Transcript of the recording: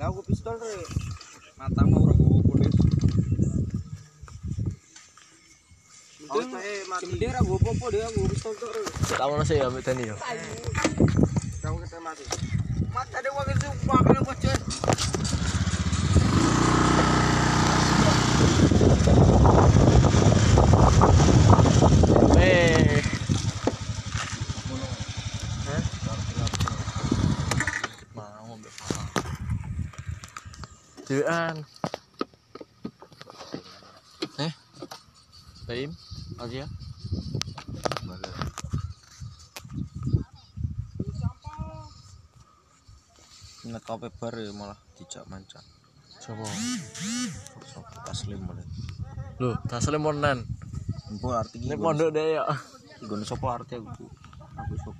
ಯಾವಾಗ ಒಪ್ಪಿಸ್ಕೊಳ್ರಿ ನಾ ತಮ್ಮ ಅವ್ರಿಗೆ ಹೋಗ್ಬಿಟ್ಟು ಚಿಮ್ಡಿಗ್ರಾಗ ಒಬ್ಬೊಬ್ಬಡಿ ಒಪ್ಪಿಸ್ಕೊಳ್ತಾವ್ರಿ Tama na sa'yo, abitan niyo. ಮತ್ತೆ ಅದೇ ಹೋಗಿರ್ತೀವಿ ಬಾಕಲ ಬಚ್ಚ Hey! Chữ An Nè Tím Ở kia ನಾ ಕಾಪಿ ಬರ್ರಿ ಮೊಳ ಕಿಚ್ಚ ಮಂಚ Coba ಸ್ವಲ್ಪ ತಸ್ಲೀಮ್ ಮಾಡಿ Loh, tak selimonan ಅರ್ತಿಗೆ Ini pondok deh ya ಈಗ ಒಂದು ಸ್ವಲ್ಪ ಅರ್ತಿ ಆಗ್ಬಿಟ್ಟು ಹಾಕು ಸ್ವಲ್ಪ